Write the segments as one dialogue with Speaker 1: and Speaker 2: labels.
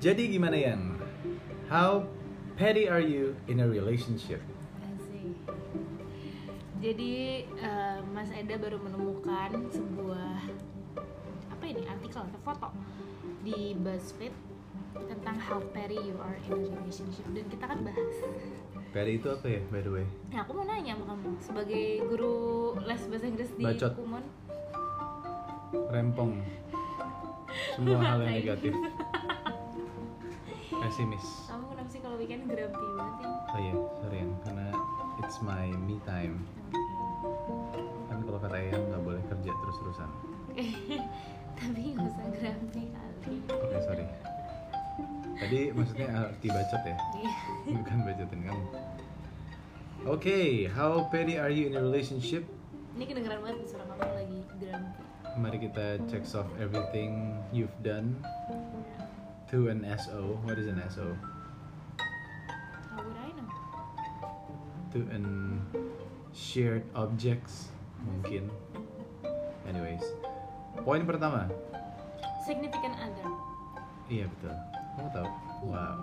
Speaker 1: Jadi gimana Yan? How petty are you in a relationship?
Speaker 2: Asik. Iya Jadi eh, Mas Eda baru menemukan sebuah apa ini artikel atau foto di BuzzFeed tentang how petty you are in a relationship dan kita kan bahas.
Speaker 1: Petty itu apa ya by the way?
Speaker 2: Nah aku mau nanya sama kamu sebagai guru les bahasa Inggris di
Speaker 1: Bacot.
Speaker 2: Kumon.
Speaker 1: Rempong. Semua hal yang negatif. Pesimis.
Speaker 2: Kamu kenapa sih kalau weekend grumpy banget ya?
Speaker 1: Oh iya, sorry Yan, karena it's my me time. Kan kalau kata Yan nggak boleh kerja terus-terusan.
Speaker 2: Oke. Tapi nggak usah grumpy kali.
Speaker 1: Oke, sorry. Tadi maksudnya arti bacot ya?
Speaker 2: Iya.
Speaker 1: Bukan bacotin kamu. Oke, how petty are you in a relationship?
Speaker 2: Ini kedengeran banget suara kamu lagi grumpy.
Speaker 1: Mari kita checks off everything you've done to an SO. What is an SO?
Speaker 2: How would I know?
Speaker 1: To an shared objects mungkin. Anyways, poin pertama.
Speaker 2: Significant other.
Speaker 1: Iya betul. Kamu tahu? Wow.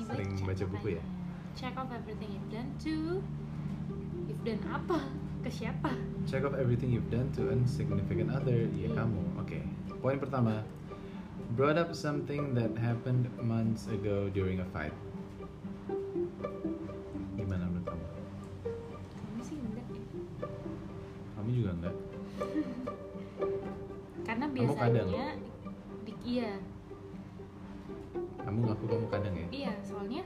Speaker 2: Tiba-tiba
Speaker 1: Sering
Speaker 2: cek
Speaker 1: baca buku ya?
Speaker 2: makanya. Check off everything you've done to You've done apa? Ke siapa?
Speaker 1: Check off everything you've done to an significant other. Iya kamu. Oke. Poin pertama. Brought up something that happened months ago during a fight. Gimana menurut kamu?
Speaker 2: Kamu sih enggak ya?
Speaker 1: Kamu juga enggak?
Speaker 2: Karena
Speaker 1: Kamu kadang.
Speaker 2: biasanya di- Iya,
Speaker 1: Kamu ngaku kamu kadang ya?
Speaker 2: iya soalnya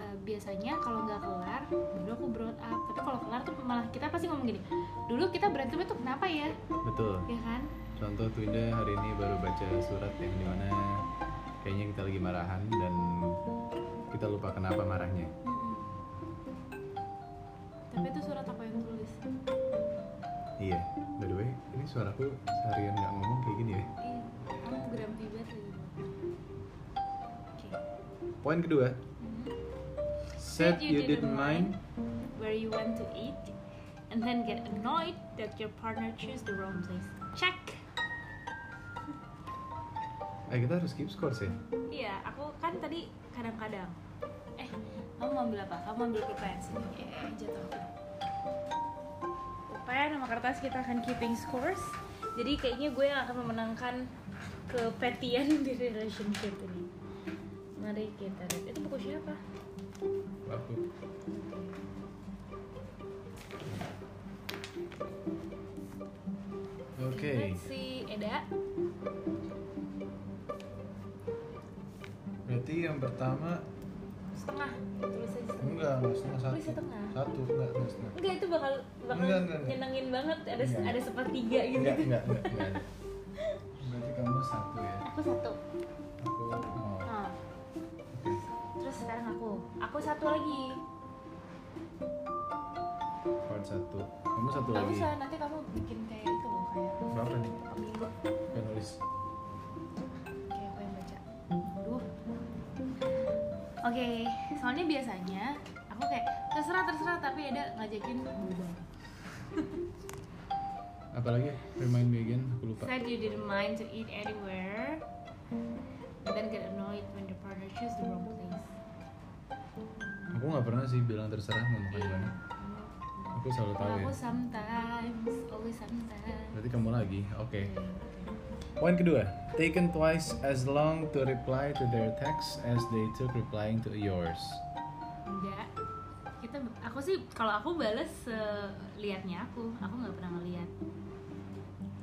Speaker 2: eh, biasanya kalau nggak kelar dulu aku brought up tapi kalau kelar tuh malah kita pasti ngomong gini dulu kita berantem itu kenapa ya
Speaker 1: Betul.
Speaker 2: ya kan
Speaker 1: Contoh Twinda hari ini baru baca surat yang dimana kayaknya kita lagi marahan dan kita lupa kenapa marahnya.
Speaker 2: Mm-mm. tapi itu surat apa yang tulis
Speaker 1: Iya. By the way, ini suaraku seharian nggak ngomong kayak gini ya.
Speaker 2: Iya, kamu grumpy banget lagi. Oke.
Speaker 1: Poin kedua.
Speaker 2: Mhm.
Speaker 1: Said you didn't mind.
Speaker 2: where you want to eat, and then get annoyed that your partner choose the wrong place. Check.
Speaker 1: Eh kita harus keep score sih.
Speaker 2: Iya, aku kan tadi kadang-kadang. Eh, kamu mau ambil apa? Kamu mau ambil pulpen sini. Eh, eh, jatuh. aku. Pulpen sama kertas kita akan keeping scores. Jadi kayaknya gue yang akan memenangkan kepetian di relationship ini. Mari kita lihat. Itu buku siapa?
Speaker 1: Aku. Oke,
Speaker 2: Let's see, Eda.
Speaker 1: berarti yang pertama
Speaker 2: Setengah. Tulis aja setengah.
Speaker 1: enggak, enggak setengah satu.
Speaker 2: Tulis setengah.
Speaker 1: Satu, enggak, enggak setengah.
Speaker 2: Enggak itu bakal
Speaker 1: Enggak,
Speaker 2: bakal
Speaker 1: enggak, enggak.
Speaker 2: nyenengin banget ada
Speaker 1: Enggak.
Speaker 2: ada sepertiga gitu.
Speaker 1: Enggak, enggak, enggak, enggak ada. Berarti kamu satu ya.
Speaker 2: Aku satu.
Speaker 1: Aku mau.
Speaker 2: Nah,
Speaker 1: Oke.
Speaker 2: terus sekarang aku. Aku satu lagi.
Speaker 1: Part satu. Kamu satu
Speaker 2: Gak
Speaker 1: lagi.
Speaker 2: usah, nanti kamu bikin kayak itu loh, kayak
Speaker 1: Berapa nih?
Speaker 2: pemilu
Speaker 1: Kan nulis.
Speaker 2: Kayak aku yang baca Aduh Oke, soalnya biasanya aku kayak terserah terserah tapi ada ngajakin berubah.
Speaker 1: Apalagi remind me again, aku lupa.
Speaker 2: Said you didn't mind to eat anywhere, and then get annoyed when the partner choose the wrong place.
Speaker 1: Aku nggak pernah sih bilang terserah mau makan di
Speaker 2: Iya.
Speaker 1: mana. Aku selalu tahu
Speaker 2: Kalau
Speaker 1: ya.
Speaker 2: aku sometimes, always sometimes.
Speaker 1: Berarti kamu lagi. Oke.
Speaker 2: Iya.
Speaker 1: Poin kedua, taken twice as long to reply to their text as they took replying to yours.
Speaker 2: enggak kita aku sih kalau aku bales liatnya aku aku nggak pernah ngeliat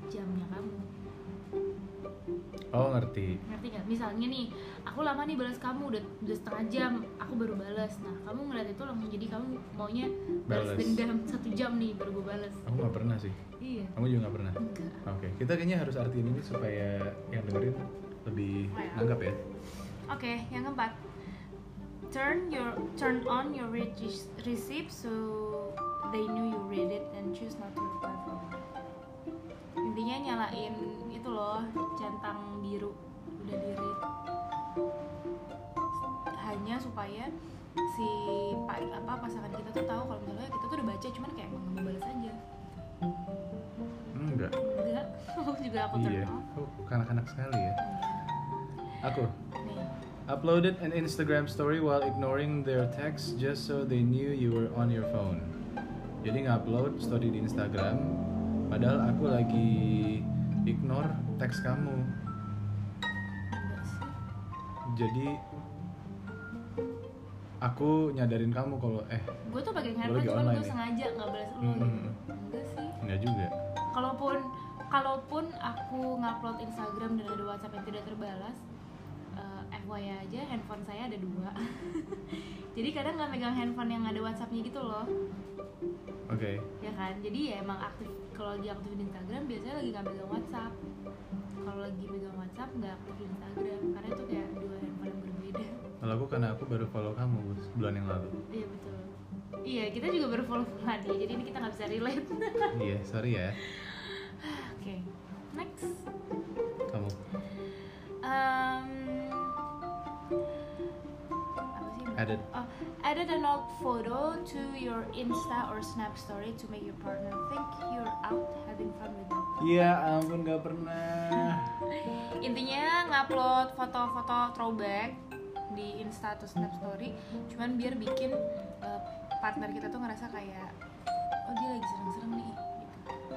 Speaker 2: jamnya kamu
Speaker 1: Oh ngerti.
Speaker 2: ngerti nggak misalnya nih aku lama nih balas kamu udah, udah setengah jam aku baru balas nah kamu ngeliat itu langsung jadi kamu maunya balas
Speaker 1: Balas.
Speaker 2: dendam satu jam nih baru gue balas
Speaker 1: Aku nggak pernah sih.
Speaker 2: iya
Speaker 1: Kamu juga nggak pernah.
Speaker 2: enggak
Speaker 1: Oke, kita kayaknya harus artiin ini supaya yang dengerin lebih
Speaker 2: Oh ya.
Speaker 1: nangkap ya.
Speaker 2: oke yang keempat turn your turn on your re- receipt so they knew you read it and choose not to reply from it. intinya nyalain itu loh centang biru udah di read hanya supaya si pak apa pasangan kita tuh tahu kalau misalnya kita tuh udah baca cuman kayak emang nggak mau balas aja
Speaker 1: Hmm, Enggak.
Speaker 2: enggak aku juga aku turn
Speaker 1: Iya.
Speaker 2: on
Speaker 1: Aku kanak-kanak sekali ya. Aku.
Speaker 2: nih
Speaker 1: Uploaded an Instagram story while ignoring their text just so they knew you were on your phone. Jadi ngupload story di Instagram, padahal aku lagi ignore teks kamu.
Speaker 2: Enggak sih.
Speaker 1: Jadi aku nyadarin kamu kalau eh
Speaker 2: Gue tuh pakai
Speaker 1: Lu
Speaker 2: handphone
Speaker 1: lagi
Speaker 2: cuman
Speaker 1: online
Speaker 2: gue
Speaker 1: ya?
Speaker 2: sengaja nggak balas lu
Speaker 1: Hmm.
Speaker 2: gitu. Enggak sih.
Speaker 1: nggak juga.
Speaker 2: Kalaupun kalaupun aku ngupload Instagram dan ada WhatsApp yang tidak terbalas, eh, FYI aja handphone saya ada dua. Jadi kadang nggak megang handphone yang ada WhatsAppnya gitu loh,
Speaker 1: Oke.
Speaker 2: ya kan? Jadi ya emang aktif kalau lagi aktif di Instagram biasanya lagi nggak megang WhatsApp. Kalau lagi megang WhatsApp nggak aktif di Instagram karena itu kayak dua handphone yang berbeda.
Speaker 1: Kalau aku karena aku baru follow kamu Gus, bulan yang lalu.
Speaker 2: Iya betul. Iya kita juga baru follow followan ya, jadi ini kita nggak bisa relate. Oke,
Speaker 1: Iya, sorry ya.
Speaker 2: next.
Speaker 1: Kamu
Speaker 2: Um, apa sih?
Speaker 1: added.
Speaker 2: Oh, added an old photo to your Insta or Snap story to make your partner think you're out having fun with them.
Speaker 1: Iya, ampun nggak pernah.
Speaker 2: Intinya ngupload foto-foto throwback di Insta atau Snap story, cuman biar bikin eh, partner kita tuh ngerasa kayak, oh dia lagi serem-serem nih. Gitu.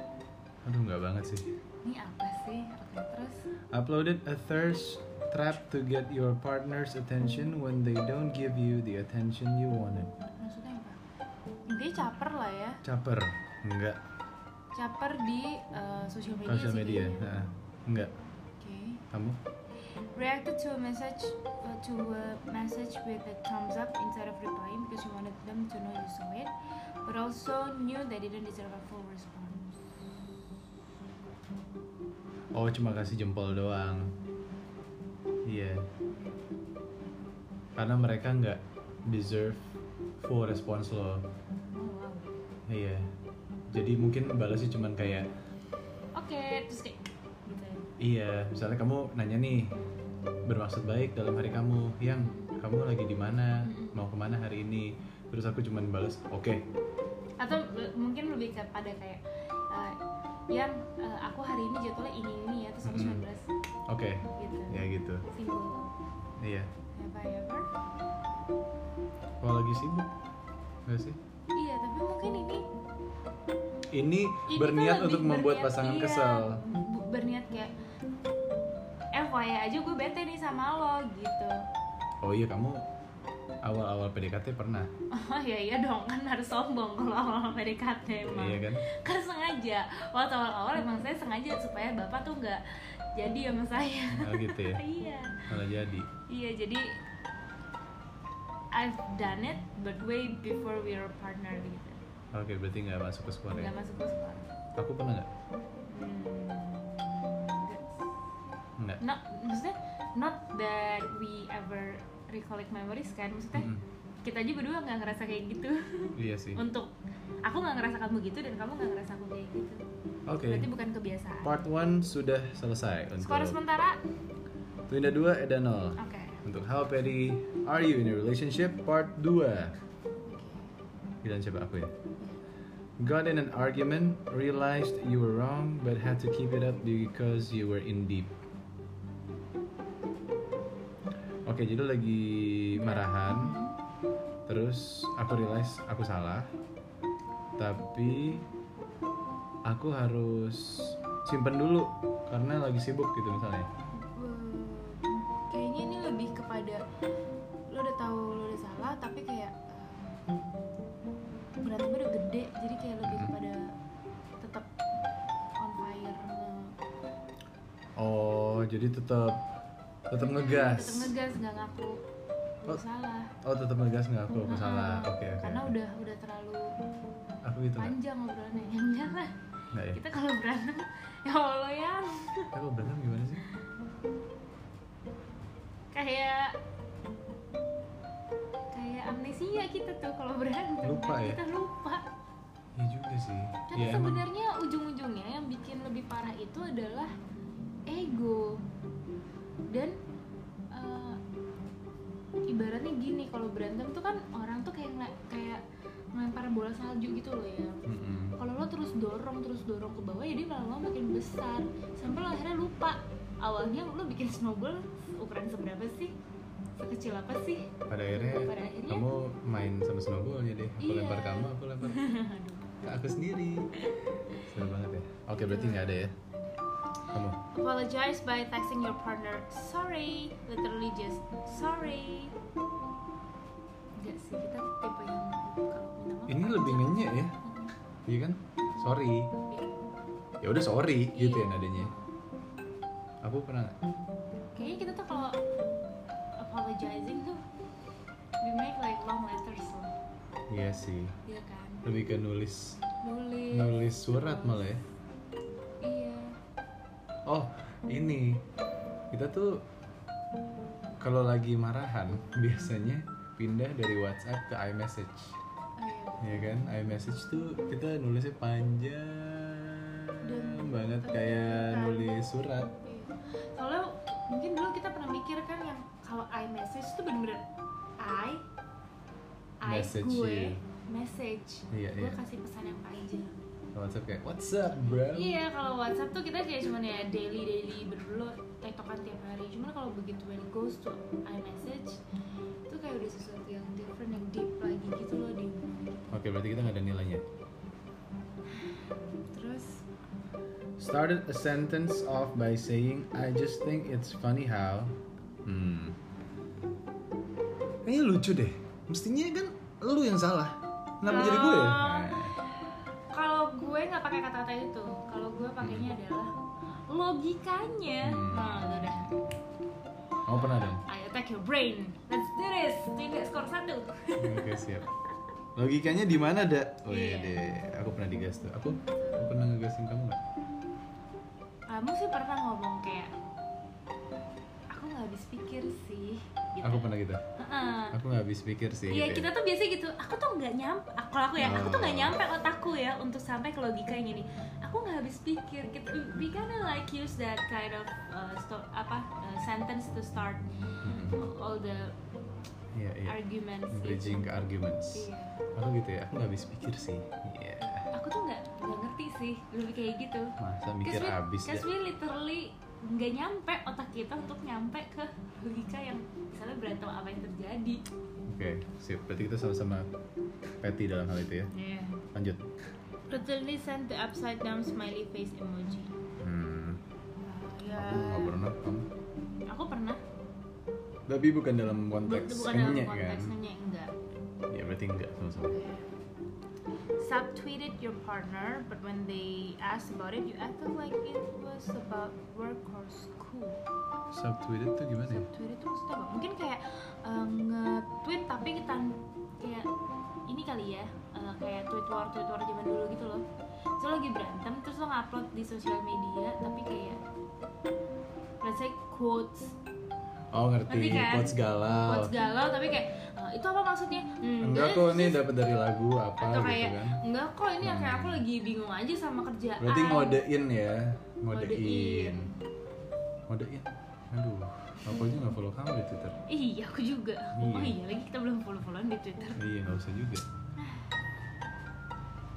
Speaker 1: Aduh nggak banget sih.
Speaker 2: Ini apa sih? Oke, terus
Speaker 1: Uploaded a thirst trap to get your partner's attention when they don't give you the attention you wanted.
Speaker 2: maksudnya apa? Intinya caper lah ya,
Speaker 1: Caper? Enggak.
Speaker 2: caper di eh, sosial media
Speaker 1: Social
Speaker 2: sih
Speaker 1: media?
Speaker 2: kayaknya.
Speaker 1: Heeh. Enggak.
Speaker 2: Oke.
Speaker 1: Kamu?
Speaker 2: Reacted to a message uh, to a message with a thumbs up instead of replying because you wanted them to know you saw it, but also knew they didn't deserve a full response.
Speaker 1: Oh cuma kasih jempol doang. Iya. Karena mereka nggak deserve full response lo.
Speaker 2: Oh wow.
Speaker 1: Iya. Jadi mungkin balasnya cuman kayak
Speaker 2: Oke, terus kayak gitu ya.
Speaker 1: Iya, misalnya kamu nanya nih bermaksud baik dalam hari kamu, yang kamu lagi di mana,
Speaker 2: Mm-mm.
Speaker 1: mau kemana hari ini, terus aku cuman balas, oke,
Speaker 2: Atau eh, mungkin lebih kepada kayak eh, yang eh, aku hari ini jadwalnya ini ini ya, terus aku cuma
Speaker 1: Mm-mm.
Speaker 2: balas
Speaker 1: oke,
Speaker 2: gitu.
Speaker 1: Mm-hmm. ya gitu,
Speaker 2: Single.
Speaker 1: iya.
Speaker 2: Have I ever?
Speaker 1: Kalau lagi sibuk, nggak sih?
Speaker 2: Iya, tapi mungkin ini,
Speaker 1: Ini,
Speaker 2: ini
Speaker 1: berniat
Speaker 2: tuh lebih
Speaker 1: untuk membuat
Speaker 2: berniat-
Speaker 1: pasangan
Speaker 2: iya,
Speaker 1: kesel.
Speaker 2: bu- Berniat kayak "Eh, FYI aja gue bete nih sama lo gitu.
Speaker 1: Oh iya, kamu awal-awal PDKT pernah,
Speaker 2: Oh ya iya dong kan harus sombong kalau awal PDKT ya emang.
Speaker 1: iya kan?
Speaker 2: Kan sengaja. Waktu awal-awal emang saya sengaja supaya bapak tuh nggak jadi sama saya.
Speaker 1: Oh gitu ya,
Speaker 2: iya.
Speaker 1: malah jadi.
Speaker 2: Iya jadi I've done it but way before we were partner gitu.
Speaker 1: Oke, berarti nggak masuk ke skor ya?
Speaker 2: Nggak masuk ke sekolah.
Speaker 1: Aku pernah nggak?
Speaker 2: Hmm,
Speaker 1: Nggak.
Speaker 2: not maksudnya not that we ever recollect memories kan maksudnya
Speaker 1: Mm-mm.
Speaker 2: kita aja berdua nggak ngerasa kayak gitu
Speaker 1: Iya sih. Oke.
Speaker 2: untuk aku nggak ngerasa kamu gitu dan kamu nggak ngerasa aku kayak gitu berarti bukan kebiasaan
Speaker 1: Part 1 sudah selesai untuk
Speaker 2: skor sementara
Speaker 1: Tunda 2 Eda 0
Speaker 2: oke
Speaker 1: Untuk How Petty Are You in a Relationship Part 2 Giliran coba aku ya Got in an argument, realized you were wrong, but had to keep it up because you were in deep. Oke, jadi lagi marahan,
Speaker 2: Hmm.
Speaker 1: terus aku realize aku salah, tapi aku harus simpen dulu karena lagi sibuk gitu misalnya.
Speaker 2: Hmm, kayaknya ini lebih kepada lo udah tahu lo udah salah tapi kayak eh, berantemnya udah gede jadi kayak lebih
Speaker 1: Mhm.
Speaker 2: kepada tetap on fire
Speaker 1: Oh, jadi tetap tetap
Speaker 2: Hmm,
Speaker 1: ngegas.
Speaker 2: tetap ngegas nggak ngaku lo
Speaker 1: Oh,
Speaker 2: salah
Speaker 1: Oh, tetap ngegas nggak aku aku
Speaker 2: Hmm,
Speaker 1: salah. Oke, oke.
Speaker 2: karena udah udah terlalu
Speaker 1: aku gitu nggak?
Speaker 2: panjang gitu. obrolannya jangan lah
Speaker 1: Nggak ya.
Speaker 2: kita kalau berantem ya allah ya
Speaker 1: Aku berantem gimana sih?
Speaker 2: kayak kayak amnesia kita tuh kalau berantem
Speaker 1: Lupa ya?
Speaker 2: kita lupa
Speaker 1: Iya juga sih.
Speaker 2: Karena
Speaker 1: Iya emang.
Speaker 2: Kan sebenarnya ujung-ujungnya yang bikin lebih parah itu adalah ego dan eh, ibaratnya gini kalau berantem tuh kan orang tuh kayak ngela- kayak melempar bola salju gitu loh ya.
Speaker 1: Mm-mm.
Speaker 2: Kalau lo terus dorong terus dorong ke bawah, ya jadi lama-lama makin besar sampai lo akhirnya lupa awalnya lo bikin snowball ukuran seberapa sih? Sekecil apa sih?
Speaker 1: Pada akhirnya,
Speaker 2: Pada akhirnya?
Speaker 1: kamu main sama snowball jadi aku
Speaker 2: Iya.
Speaker 1: lempar kamu, aku lempar
Speaker 2: Aduh.
Speaker 1: ke aku sendiri. Seru banget ya. Oke, berarti nggak ada ya. Kamu
Speaker 2: Apologize by texting your partner. Sorry, literally just sorry. Enggak sih, kita tipe yang kalau minta maaf
Speaker 1: ini lebih ngenyek ya,
Speaker 2: Mm,
Speaker 1: iya kan? Sorry.
Speaker 2: iya.
Speaker 1: Ya udah sorry gitu ya
Speaker 2: Iya.
Speaker 1: nadanya. Aku pernah
Speaker 2: Kayaknya kita tuh kalau apologizing tuh we make like long letters loh,
Speaker 1: Iya sih.
Speaker 2: iya kan?
Speaker 1: Lebih ke nulis
Speaker 2: Nulis.
Speaker 1: nulis surat malah ya.
Speaker 2: Iya.
Speaker 1: Oh, ini kita tuh kalau lagi marahan biasanya pindah dari WhatsApp ke iMessage.
Speaker 2: Oh, iya.
Speaker 1: Ya kan? iMessage tuh kita nulisnya panjang banget kayak nulis surat.
Speaker 2: Iya. Soalnya mungkin dulu kita pernah mikir kan yang kalau I message tuh bener-bener I I
Speaker 1: Message,
Speaker 2: gue
Speaker 1: iya.
Speaker 2: message.
Speaker 1: Iya,
Speaker 2: gue
Speaker 1: iya.
Speaker 2: kasih pesan yang panjang.
Speaker 1: WhatsApp kayak What's up, bro?
Speaker 2: Iya, kalau WhatsApp tuh kita kayak cuman ya daily daily berdua tektokan tiap hari. Cuman kalau begitu when it goes to iMessage itu kayak udah sesuatu yang different yang deep lagi gitu loh di hubungan kita.
Speaker 1: Oke, berarti kita nggak ada nilainya.
Speaker 2: Terus
Speaker 1: Started a sentence off by saying I just think it's funny how. Hmm. Kayaknya lucu deh. Mestinya kan lu yang salah. Kenapa jadi gue ya?
Speaker 2: Ah.
Speaker 1: Nah.
Speaker 2: kalau gue nggak pakai kata-kata itu, kalau gue pakainya adalah logikanya.
Speaker 1: Hmm.
Speaker 2: Nah, udah dah.
Speaker 1: Kamu pernah dong?
Speaker 2: I attack your brain. Let's do this. Tinggal skor satu.
Speaker 1: Oke siap. Logikanya di mana dak? Oh iya
Speaker 2: Iya.
Speaker 1: deh, aku pernah digas tuh. Aku, aku pernah ngegasin kamu nggak?
Speaker 2: Kamu sih pernah ngomong kayak aku nggak habis pikir sih. Gitu.
Speaker 1: Aku pernah gitu.
Speaker 2: Heeh.
Speaker 1: Aku nggak habis pikir sih.
Speaker 2: Iya
Speaker 1: gitu
Speaker 2: kita
Speaker 1: ya.
Speaker 2: tuh biasa gitu. Aku tuh nggak nyampe. ah, Kalau aku ya, aku tuh nggak
Speaker 1: Oh.
Speaker 2: nyampe otakku ya untuk sampai ke logika yang ini. Aku nggak habis pikir. Kita we kinda like use that kind of uh, sto- apa uh, sentence to start
Speaker 1: Hmm.
Speaker 2: all the
Speaker 1: Iya iya.
Speaker 2: arguments. gitu.
Speaker 1: Bridging ke arguments.
Speaker 2: Iya.
Speaker 1: Aku gitu ya. Aku nggak habis pikir sih. Iya.
Speaker 2: Aku tuh nggak nggak ngerti sih lebih kayak gitu.
Speaker 1: Masa mikir
Speaker 2: Cause we-
Speaker 1: habis ya.
Speaker 2: Cause
Speaker 1: Dak?
Speaker 2: we literally nggak nyampe otak kita untuk nyampe ke logika yang misalnya berantem apa yang terjadi.
Speaker 1: Oke, sip. Berarti kita sama-sama petty dalam hal itu ya.
Speaker 2: Yeah.
Speaker 1: Lanjut.
Speaker 2: Literally Iya. send the upside down smiley face emoji.
Speaker 1: Hmm.
Speaker 2: Ya.
Speaker 1: Aku nggak pernah kamu.
Speaker 2: Aku pernah.
Speaker 1: Tapi bukan dalam konteks
Speaker 2: Bu- bukan dalam
Speaker 1: ngenyek,
Speaker 2: konteks
Speaker 1: kan?
Speaker 2: nanya enggak.
Speaker 1: Ya berarti enggak sama-sama.
Speaker 2: Subtweeted your partner, but when they asked about it, you acted like it was about work or school.
Speaker 1: Subtweeted tuh gimana ya?
Speaker 2: Subtweeted itu maksudnya apa? Mungkin kayak eh, nge-tweet tapi kita kayak ini kali ya eh, kayak tweet war tweet war zaman dulu gitu loh. Terus lo lagi berantem terus lo ngupload di sosial media tapi kayak let's say quotes
Speaker 1: Oh ngerti,
Speaker 2: Ngerti kan?
Speaker 1: quotes galau.
Speaker 2: quotes galau tapi kayak eh, itu apa maksudnya? Hmm,
Speaker 1: Enggak
Speaker 2: eh,
Speaker 1: kok ini
Speaker 2: terus-
Speaker 1: dapat dari lagu apa
Speaker 2: atau
Speaker 1: gitu
Speaker 2: kayak
Speaker 1: kan.
Speaker 2: enggak kok ini
Speaker 1: Hmm.
Speaker 2: kayak aku lagi bingung aja sama kerjaan.
Speaker 1: Berarti ngodein ya,
Speaker 2: ah, Ngodein.
Speaker 1: ngodein. Ngodein. Aduh, aku aja nggak follow kamu di Twitter.
Speaker 2: Iya, aku juga.
Speaker 1: Iya.
Speaker 2: Oh iya, lagi kita belum follow-followan di Twitter.
Speaker 1: Iya, nggak usah juga.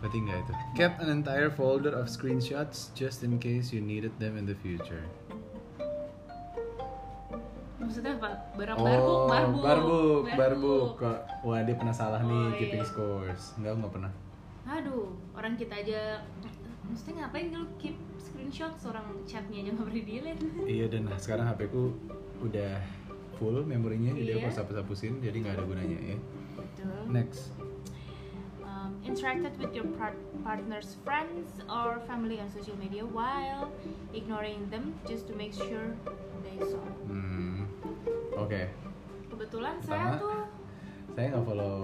Speaker 1: Berarti nggak itu. Kept an entire folder of screenshots just in case you needed them in the future.
Speaker 2: Maksudnya apa? Barang barbuk, barbuk.
Speaker 1: Oh, barbuk, barbuk. Kok, wah dia pernah salah nih
Speaker 2: Oh,
Speaker 1: keeping
Speaker 2: iya.
Speaker 1: scores. Enggak, nggak pernah.
Speaker 2: Aduh, orang kita aja Maksudnya ngapain lu keep screenshot orang chatnya aja nggak pernah delete
Speaker 1: Iya dan nah, sekarang HP ku udah full memorinya, jadi aku
Speaker 2: Iya. Oh.
Speaker 1: harus hapus-hapusin, jadi nggak ada gunanya ya.
Speaker 2: Betul
Speaker 1: Next.
Speaker 2: Gitu. um, Interacted with your par- partner's friends or family on social media While ignoring them just to make sure they saw
Speaker 1: Hmm. Oke,
Speaker 2: Kebetulan
Speaker 1: Pertama.
Speaker 2: saya tuh
Speaker 1: saya nggak follow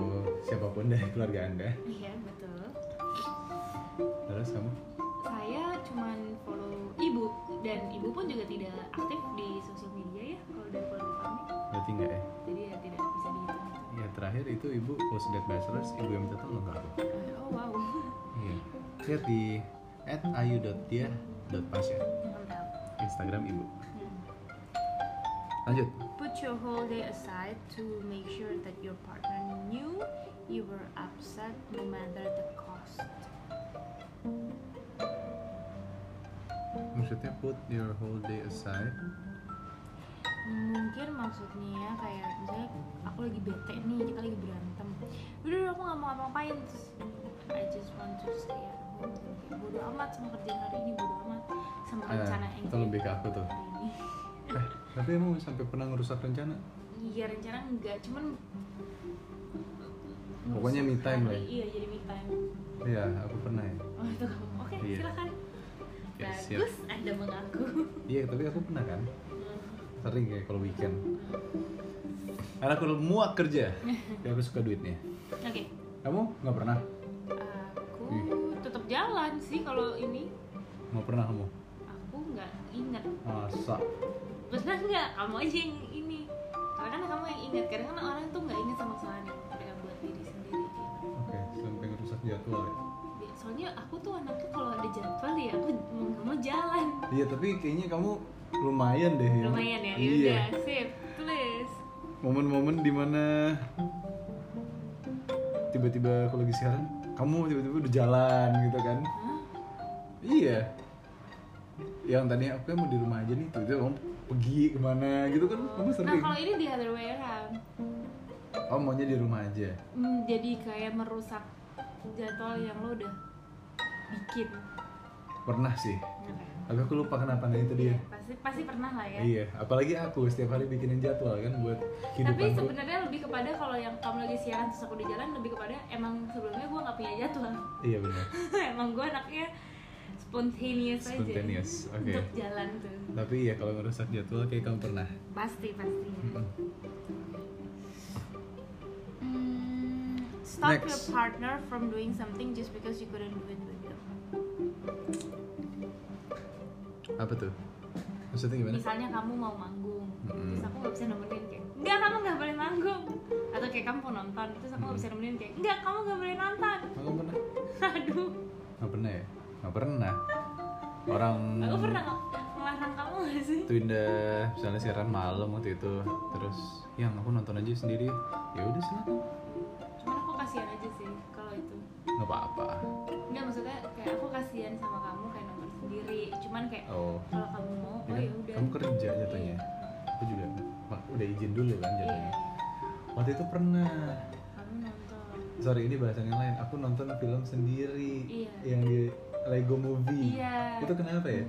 Speaker 1: siapapun dari keluarga anda.
Speaker 2: Iya, betul
Speaker 1: Terus kamu?
Speaker 2: Saya cuman follow ibu Dan ibu pun juga tidak aktif di social media ya Kalau dari keluarga kami
Speaker 1: Berarti nggak ya?
Speaker 2: Jadi ya tidak bisa dihitung
Speaker 1: Ya terakhir itu ibu post date bachelors, ibu yang minta tolong ke aku.
Speaker 2: Oh wow
Speaker 1: Iya. Lihat di at ayu.dia.pasya
Speaker 2: Mantap
Speaker 1: ya, Instagram ibu.
Speaker 2: Hmm.
Speaker 1: Lanjut.
Speaker 2: Put your whole day aside to make sure that your partner knew you were upset no matter the cost.
Speaker 1: Maksudnya put your whole day aside
Speaker 2: mungkin maksudnya kayak misalnya aku lagi bete nih kita lagi berantem udah aku nggak mau ngapa-ngapain terus I just want to stay at home dan kayak bodo amat sama kerjaan hari ini bodo amat sama
Speaker 1: Eh,
Speaker 2: rencana yang
Speaker 1: itu lebih ke aku tuh.
Speaker 2: hari ini
Speaker 1: Eh, tapi emang sampai pernah ngerusak rencana?
Speaker 2: iya rencana enggak cuman
Speaker 1: Pokoknya me time lah ya.
Speaker 2: iya jadi me time
Speaker 1: Iya, aku pernah ya.
Speaker 2: oh itu kamu oke
Speaker 1: Iya.
Speaker 2: silakan Iya,
Speaker 1: Oke, siap.
Speaker 2: bagus anda mengaku
Speaker 1: Iya, tapi aku pernah kan. Sering kayak kalau weekend. Karena aku muak kerja. Ya aku suka duitnya.
Speaker 2: oke
Speaker 1: Kamu nggak pernah?
Speaker 2: aku
Speaker 1: Ih.
Speaker 2: tetap jalan sih kalau ini
Speaker 1: Nggak pernah kamu?
Speaker 2: aku nggak ingat
Speaker 1: Masa?
Speaker 2: maksudnya nggak kamu aja yang ini karena kamu yang ingat karena kan orang tuh nggak ingat sama sekali yang mereka buat diri sendiri kayak
Speaker 1: Oke, sampai ngerusak jadwal ya.
Speaker 2: Bi- soalnya aku tuh anaknya kalau ada jadwal ya aku mau nggak mau jalan
Speaker 1: Iya, tapi kayaknya kamu lumayan deh. ya.
Speaker 2: lumayan ya
Speaker 1: Iya.
Speaker 2: yaudah sip tulis
Speaker 1: Momen-momen dimana tiba-tiba kalau lagi siaran, kamu tiba-tiba udah jalan gitu kan?
Speaker 2: Hah?
Speaker 1: Iya. Yang tadinya aku kan mau di rumah aja nih, tuh kamu pergi kemana gitu kan? Kamu
Speaker 2: nah
Speaker 1: sering.
Speaker 2: kalau ini the other way around
Speaker 1: Oh maunya di rumah aja.
Speaker 2: Hmm, jadi kayak merusak jadwal yang lo udah bikin
Speaker 1: Pernah sih.
Speaker 2: Bener kan?
Speaker 1: Tapi aku lupa kenapa nggak itu dia.
Speaker 2: pasti pasti pernah lah ya
Speaker 1: Iya. Apalagi aku setiap hari bikinin jadwal kan buat
Speaker 2: tapi
Speaker 1: kehidupanku.
Speaker 2: sebenarnya lebih kepada kalau yang kamu lagi siaran terus aku di jalan lebih kepada emang sebelumnya gue nggak punya jadwal
Speaker 1: Iya benar.
Speaker 2: emang gue anaknya spontaneous,
Speaker 1: Spontaneous,
Speaker 2: aja
Speaker 1: oke.
Speaker 2: untuk jalan tuh
Speaker 1: Tapi iya kalau ngerusak jadwal kayak kamu pernah.
Speaker 2: pasti pasti
Speaker 1: Mm-mm.
Speaker 2: Hmm, stop
Speaker 1: Next.
Speaker 2: your partner from doing something just because you couldn't do it with them
Speaker 1: Apa tuh? Maksudnya gimana?
Speaker 2: misalnya kamu mau manggung
Speaker 1: Mm-mm.
Speaker 2: terus aku nggak bisa nemenin kayak enggak kamu nggak boleh manggung atau kayak kamu mau nonton terus aku nggak bisa nemenin kayak enggak kamu nggak boleh nonton
Speaker 1: Oh, kamu pernah?
Speaker 2: aduh
Speaker 1: Nggak pernah ya? Nggak pernah. Orang
Speaker 2: aku pernah nggak ngelarang kamu nggak sih
Speaker 1: Twinda misalnya siaran malam waktu itu terus yang aku nonton aja sendiri ya udah silakan
Speaker 2: cuman aku kasihan aja sih kalau itu
Speaker 1: nggak apa-apa
Speaker 2: Enggak maksudnya kayak aku kasihan sama kamu kayak nonton sendiri cuman kayak
Speaker 1: oh
Speaker 2: kalau kamu
Speaker 1: ya
Speaker 2: mau oh
Speaker 1: kan?
Speaker 2: ya udah
Speaker 1: kamu kerja jatuhnya
Speaker 2: Iya.
Speaker 1: aku juga Mak, udah izin dulu kan
Speaker 2: Iya,
Speaker 1: jatuhnya waktu itu pernah
Speaker 2: kamu nonton
Speaker 1: sorry ini bahasannya lain aku nonton film sendiri
Speaker 2: Iya.
Speaker 1: yang di Lego Movie
Speaker 2: iya
Speaker 1: itu kenapa ya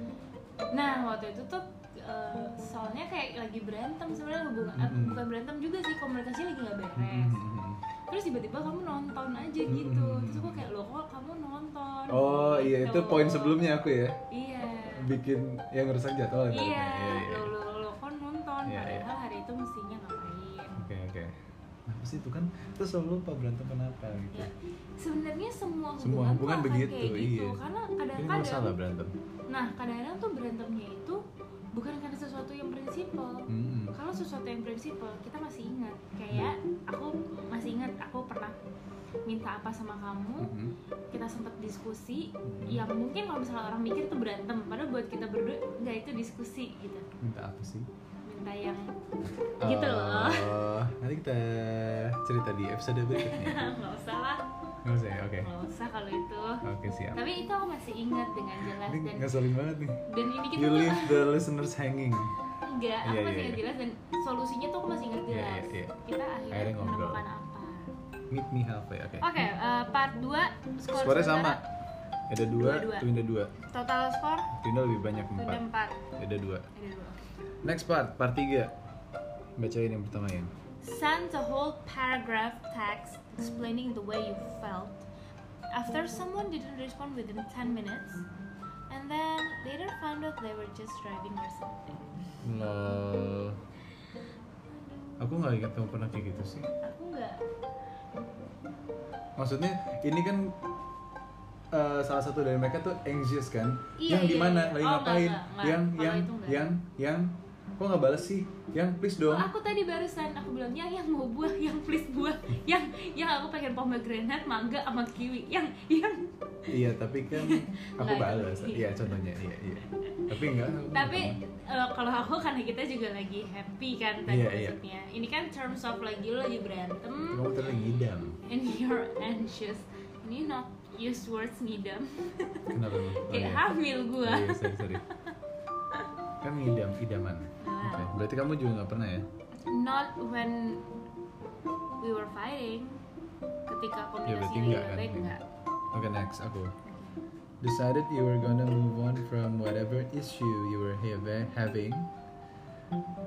Speaker 2: nah waktu itu tuh eh, soalnya kayak lagi berantem sebenarnya hubungan eh,
Speaker 1: Mm-mm.
Speaker 2: bukan berantem juga sih komunikasi lagi nggak beres
Speaker 1: Mm-mm.
Speaker 2: terus tiba-tiba kamu nonton aja
Speaker 1: Mm-mm.
Speaker 2: gitu terus aku kayak loh kok kamu nonton
Speaker 1: oh iya itu
Speaker 2: Gitu.
Speaker 1: poin sebelumnya aku ya
Speaker 2: iya
Speaker 1: bikin yang ngerusak jadwal
Speaker 2: iya,
Speaker 1: ibaratnya.
Speaker 2: lo lo lo kok nonton
Speaker 1: Iya, iya.
Speaker 2: padahal hari itu mestinya ngapain
Speaker 1: oke oke kenapa sih itu kan terus selalu lupa berantem kenapa gitu
Speaker 2: Ya, sebenarnya semua hubungan,
Speaker 1: Semua hubungan
Speaker 2: tuh akan
Speaker 1: begitu,
Speaker 2: kayak gitu
Speaker 1: iya.
Speaker 2: karena
Speaker 1: Ini nggak salah
Speaker 2: kadang-kadang
Speaker 1: berantem.
Speaker 2: nah kadang-kadang tuh berantemnya itu bukan karena sesuatu yang prinsipal
Speaker 1: Mm-mm.
Speaker 2: kalau sesuatu yang prinsipal kita masih ingat kayak aku masih ingat aku pernah minta apa sama kamu
Speaker 1: Mm-mm.
Speaker 2: kita sempat diskusi
Speaker 1: Mm-mm.
Speaker 2: yang mungkin kalau misalnya orang mikir itu berantem padahal buat kita berdua nggak itu diskusi gitu
Speaker 1: Minta apa sih?
Speaker 2: minta yang gitu loh
Speaker 1: Eh, nanti kita cerita di episode berikutnya.
Speaker 2: "Ah, nggak usah lah
Speaker 1: Nggak usah ya? Oke.
Speaker 2: nggak usah kalau itu
Speaker 1: Oke siap.
Speaker 2: tapi itu aku masih ingat dengan jelas
Speaker 1: Ini
Speaker 2: dan
Speaker 1: ngeselin banget nih.
Speaker 2: dan ini kita
Speaker 1: You
Speaker 2: tuh-
Speaker 1: leave the listeners hanging.
Speaker 2: enggak aku
Speaker 1: Iya,
Speaker 2: masih
Speaker 1: iya,
Speaker 2: ingat
Speaker 1: iya.
Speaker 2: jelas dan solusinya tuh aku masih ingat
Speaker 1: Iya,
Speaker 2: jelas
Speaker 1: iya, iya.
Speaker 2: kita akhirnya
Speaker 1: Akhirnya ngobrol.
Speaker 2: menemukan apa
Speaker 1: Meet me halfway. Oke.
Speaker 2: oke eh, part 2 skor
Speaker 1: Skornya sama.
Speaker 2: sementara.
Speaker 1: Ada dua,
Speaker 2: Dua-dua.
Speaker 1: Twinda dua.
Speaker 2: total skor
Speaker 1: Twinda lebih banyak
Speaker 2: sudah
Speaker 1: empat.
Speaker 2: 4
Speaker 1: Ada dua.
Speaker 2: ada dua
Speaker 1: Next part, part tiga. Bacain yang pertama ya.
Speaker 2: Send a whole paragraph text explaining the way you felt after someone didn't respond within 10 minutes and then later found out they were just driving or something.
Speaker 1: Lol. Nah. Aku nggak ingat kamu pernah kayak gitu sih.
Speaker 2: Aku nggak.
Speaker 1: Maksudnya ini kan eh, salah satu dari mereka tuh anxious kan?
Speaker 2: Iya,
Speaker 1: yang di
Speaker 2: iya,
Speaker 1: mana
Speaker 2: iya.
Speaker 1: lagi
Speaker 2: Oh, enggak,
Speaker 1: ngapain?
Speaker 2: enggak, enggak.
Speaker 1: Yang
Speaker 2: Kalau
Speaker 1: yang
Speaker 2: itu enggak.
Speaker 1: yang yang kok nggak balas sih? Yang please dong.
Speaker 2: Oh, aku tadi barusan aku bilang yang yang mau buah, yang please buah, yang yang aku pengen pomegranate, mangga sama kiwi, yang yang
Speaker 1: iya tapi kan aku
Speaker 2: Enggak, itu
Speaker 1: balas.
Speaker 2: enggak.
Speaker 1: Iya contohnya iya iya. Tapi enggak. aku enggak
Speaker 2: tapi eh, kalau aku karena kita juga lagi happy kan tadi
Speaker 1: Iya, iya.
Speaker 2: maksudnya ini kan terms of lagi lo lagi berantem
Speaker 1: pernah. kamu terlalu ngidam.
Speaker 2: and you're anxious and you not use words ngidam
Speaker 1: Kenapa? emang? Oh,
Speaker 2: kayak ah.
Speaker 1: iya.
Speaker 2: hamil
Speaker 1: Oh,
Speaker 2: gua
Speaker 1: iya, sorry, sorry. Kan ngidam, idaman.
Speaker 2: Ah.
Speaker 1: Oke, Berarti kamu juga nggak pernah ya?
Speaker 2: not when we were fighting
Speaker 1: Ya
Speaker 2: ketika komunikasi
Speaker 1: berarti
Speaker 2: lagi
Speaker 1: enggak
Speaker 2: nggak
Speaker 1: kan?
Speaker 2: baik enggak
Speaker 1: Oke next aku. Decided you were gonna move on from whatever issue you were have- having,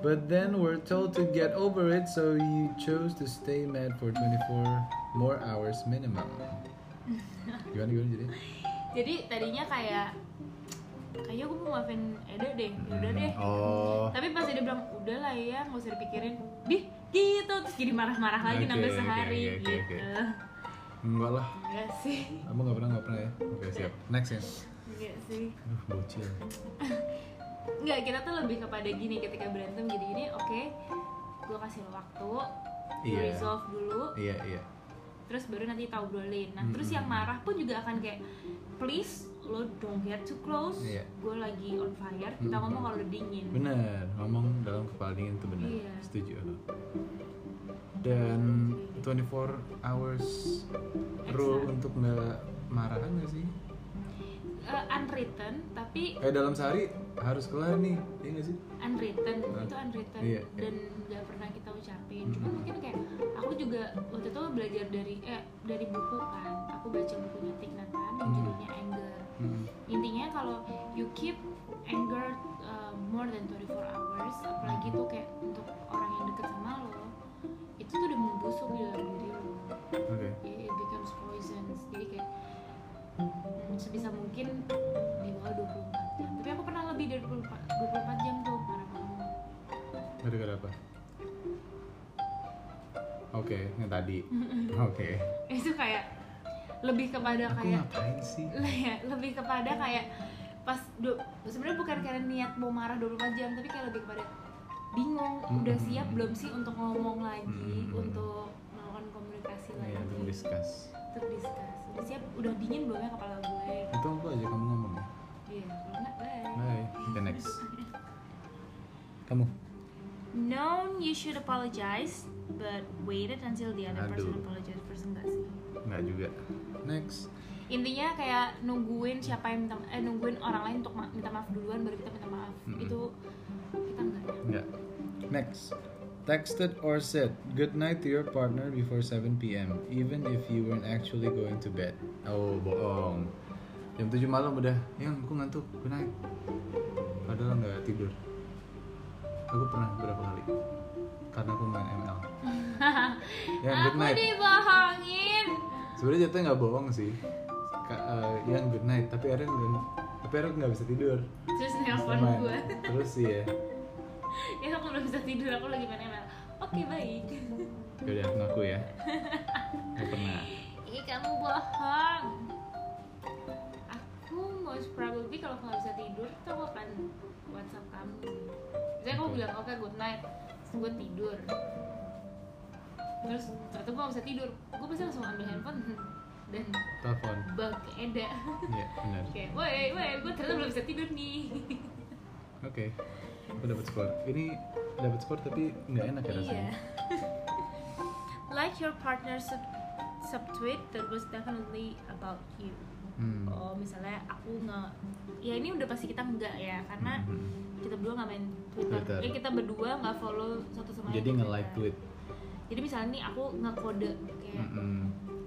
Speaker 1: but then were told to get over it, so you chose to stay mad for 24 more hours minimum. Gimana gimana jadi?
Speaker 2: jadi tadinya kayak kayaknya gue mau maafin Edo deh udah deh
Speaker 1: Oh.
Speaker 2: tapi pas dia bilang udah lah ya nggak usah dipikirin dih gitu terus jadi marah-marah lagi
Speaker 1: Oke,
Speaker 2: nambah
Speaker 1: oke,
Speaker 2: sehari
Speaker 1: oke, oke, oke.
Speaker 2: gitu
Speaker 1: Enggak lah.
Speaker 2: enggak sih
Speaker 1: Kamu nggak pernah nggak pernah ya? Oke siap. Next ya.
Speaker 2: enggak sih
Speaker 1: Aduh, bocil.
Speaker 2: Nggak, kita tuh lebih kepada gini ketika berantem gini-gini oke gue kasih lo waktu you
Speaker 1: Iya.
Speaker 2: resolve dulu
Speaker 1: Iya iya.
Speaker 2: terus baru nanti tahu obrolin nah terus
Speaker 1: Mm-mm.
Speaker 2: yang marah pun juga akan kayak please lo don't get too close
Speaker 1: Iya.
Speaker 2: gue lagi on fire kita
Speaker 1: Mm-mm.
Speaker 2: ngomong kalau dingin
Speaker 1: Bener, ngomong dalam kepala dingin itu bener.
Speaker 2: Iya.
Speaker 1: Setuju. aku. Dan 24 hours rule
Speaker 2: Excellent.
Speaker 1: untuk nggak marahan nggak sih?
Speaker 2: Eh, unwritten tapi
Speaker 1: Eh dalam sehari harus kelar nih, iya nggak sih?
Speaker 2: unwritten
Speaker 1: Ah.
Speaker 2: itu unwritten
Speaker 1: Iya, iya.
Speaker 2: dan nggak pernah kita ucapin
Speaker 1: Mm-mm.
Speaker 2: cuma mungkin kayak aku juga waktu itu belajar dari eh dari buku kan aku baca bukunya Tignatan yang
Speaker 1: Mm.
Speaker 2: judulnya anger
Speaker 1: Mm-mm.
Speaker 2: intinya kalau you keep anger uh, more than 24 hours apalagi tuh kayak untuk orang yang deket sama lo itu tuh udah membusuk di dalam diri lo
Speaker 1: Oke.
Speaker 2: it, it becomes poison jadi kayak mm, sebisa mungkin di bawah 24 jam tapi aku pernah lebih dari 24, 24 jam tuh marah banget
Speaker 1: Gara-gara apa? Oke, yang tadi. Oke.
Speaker 2: itu kayak lebih kepada
Speaker 1: Aku
Speaker 2: kayak
Speaker 1: ngapain sih?
Speaker 2: ya, lebih kepada kayak pas du- sebenarnya bukan karena niat mau marah 24 jam tapi kayak lebih kepada bingung udah
Speaker 1: Hmm.
Speaker 2: siap belum sih untuk ngomong lagi
Speaker 1: Hmm.
Speaker 2: untuk melakukan komunikasi lagi
Speaker 1: Iya, untuk discuss.
Speaker 2: untuk discuss udah siap udah dingin belum ya kepala gue
Speaker 1: Itu aku aja kamu ngomong ya.
Speaker 2: iya kalau nggak bye
Speaker 1: Bye. Oke, next. Kamu.
Speaker 2: known you should apologize but waited until the other person
Speaker 1: Aduh.
Speaker 2: apologize first enggak sih
Speaker 1: Nggak juga. Next.
Speaker 2: intinya kayak nungguin siapa yang minta eh nungguin orang lain untuk ma- minta maaf duluan baru kita minta maaf
Speaker 1: Mm-mm.
Speaker 2: itu kita enggak ya
Speaker 1: Nggak. Next. Texted or said good night to your partner before 7 p.m. even if you weren't actually going to bed. Oh, bohong. Jam 7 malam udah, yang aku ngantuk, good night. Padahal nggak tidur. Aku pernah berapa kali. Karena aku main ML. ya, good
Speaker 2: aku
Speaker 1: night.
Speaker 2: dibohongin
Speaker 1: Sebenarnya jatuhnya nggak bohong sih. Ka- eh, yang good night, tapi Aaron nggak- tapi Aaron nggak bisa tidur.
Speaker 2: terus nelfon
Speaker 1: Main.
Speaker 2: gue
Speaker 1: Terus iya.
Speaker 2: ya aku belum bisa tidur aku lagi main ML oke baik
Speaker 1: Yaudah, ngaku ya. Gak pernah.
Speaker 2: ih kamu bohong aku most probably kalau aku nggak bisa tidur tuh aku akan WhatsApp kamu misalnya kamu
Speaker 1: Oke.
Speaker 2: bilang oke good night terus gue tidur terus ternyata gue nggak bisa tidur gue pasti langsung ambil handphone dan
Speaker 1: Telepon.
Speaker 2: bug eda
Speaker 1: Iya, benar.
Speaker 2: kayak woi woi gue ternyata belum bisa tidur nih
Speaker 1: Oke. Aku dapat skor. Ini dapat skor tapi nggak enak ya rasanya.
Speaker 2: Iya. like your partner sub subtweet that was definitely about you.
Speaker 1: Hmm.
Speaker 2: Oh misalnya aku nge ya ini udah pasti kita enggak ya karena
Speaker 1: Hmm.
Speaker 2: kita berdua nggak main Twitter.
Speaker 1: Twitter.
Speaker 2: Eh kita berdua nggak follow satu sama lain.
Speaker 1: hmm, Jadi
Speaker 2: di
Speaker 1: nge-like
Speaker 2: Twitter.
Speaker 1: tweet. Hmm,
Speaker 2: Jadi misalnya nih aku ngekode kayak
Speaker 1: Mm-mm.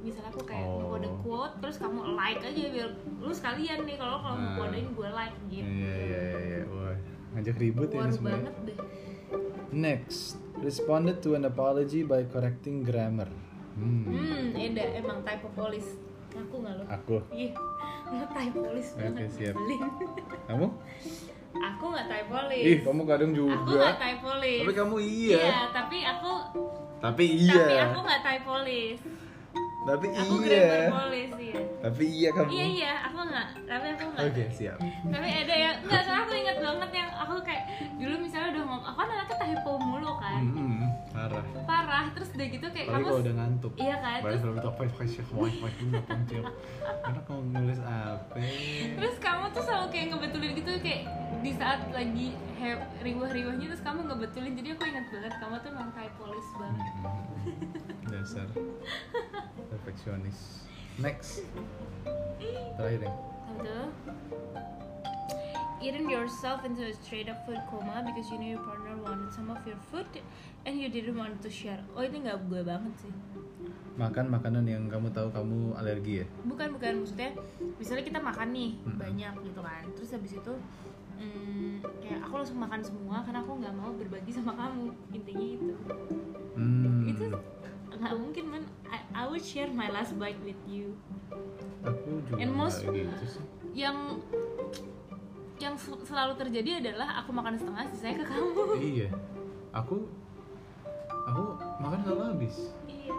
Speaker 2: misalnya aku kayak
Speaker 1: Oh.
Speaker 2: ngekode quote terus kamu like aja biar lu sekalian nih kalau kalau
Speaker 1: Nah.
Speaker 2: ngekodein gue like gitu.
Speaker 1: Iya, iya, iya, iya. Wah, ngajak ribut ya
Speaker 2: War
Speaker 1: ini semua.
Speaker 2: banget deh.
Speaker 1: Next, responded to an apology by correcting grammar. Hmm.
Speaker 2: Hmm, Eda emang typo police. Aku nggak lo.
Speaker 1: Aku.
Speaker 2: Iya, lo typolis
Speaker 1: Oke,
Speaker 2: banget
Speaker 1: siap.
Speaker 2: nyebelin.
Speaker 1: Kamu?
Speaker 2: Aku nggak typolis.
Speaker 1: Ih, kamu kadang
Speaker 2: Aku nggak
Speaker 1: juga.
Speaker 2: typolis.
Speaker 1: Tapi kamu iya.
Speaker 2: Iya, tapi aku
Speaker 1: Tapi
Speaker 2: tapi
Speaker 1: iya.
Speaker 2: aku nggak typolis.
Speaker 1: Tapi
Speaker 2: Aku
Speaker 1: iya.
Speaker 2: grammar polis iya.
Speaker 1: Tapi iya kamu.
Speaker 2: Iya iya, aku nggak. Tapi aku nggak.
Speaker 1: Oke, siap.
Speaker 2: Tapi ada yang nggak soalnya aku inget banget yang aku kayak dulu misalnya udah ngomong, aku kan anaknya typo mulu kan,
Speaker 1: Hmm, parah.
Speaker 2: parah. Terus udah gitu kayak
Speaker 1: Apalagi kalau
Speaker 2: kamu
Speaker 1: udah ngantuk.
Speaker 2: Iya kan,
Speaker 1: Baru
Speaker 2: terus-
Speaker 1: selalu top five kasih wah wah ini nggak penting. Karena kalau nulis apa?
Speaker 2: Terus kamu tuh selalu kayak ngebetulin gitu kayak di saat lagi he- riwah-riwahnya terus kamu ngebetulin jadi aku ingat banget kamu tuh emang typolis banget.
Speaker 1: Hmm, Dasar. ya. Perfeksionis. Next. Terakhir yang
Speaker 2: Tentu. eaten yourself into a straight up food coma because you knew your partner wanted some of your food and you didn't want to share. Oh itu nggak gue banget sih.
Speaker 1: Makan makanan yang kamu tahu kamu alergi ya.
Speaker 2: Bukan bukan maksudnya misalnya kita makan nih
Speaker 1: Mm-mm.
Speaker 2: banyak gitu kan. Terus habis itu mm, kayak aku langsung makan semua karena aku nggak mau berbagi sama kamu intinya itu.
Speaker 1: Hmm.
Speaker 2: Itu nggak mungkin man. I, I would share my last bite with you.
Speaker 1: Aku juga
Speaker 2: And most-
Speaker 1: nggak gitu sih.
Speaker 2: Yang yang sel- selalu terjadi adalah aku makan setengah sisanya ke kamu.
Speaker 1: iya. Aku aku makan selalu habis.
Speaker 2: Iya.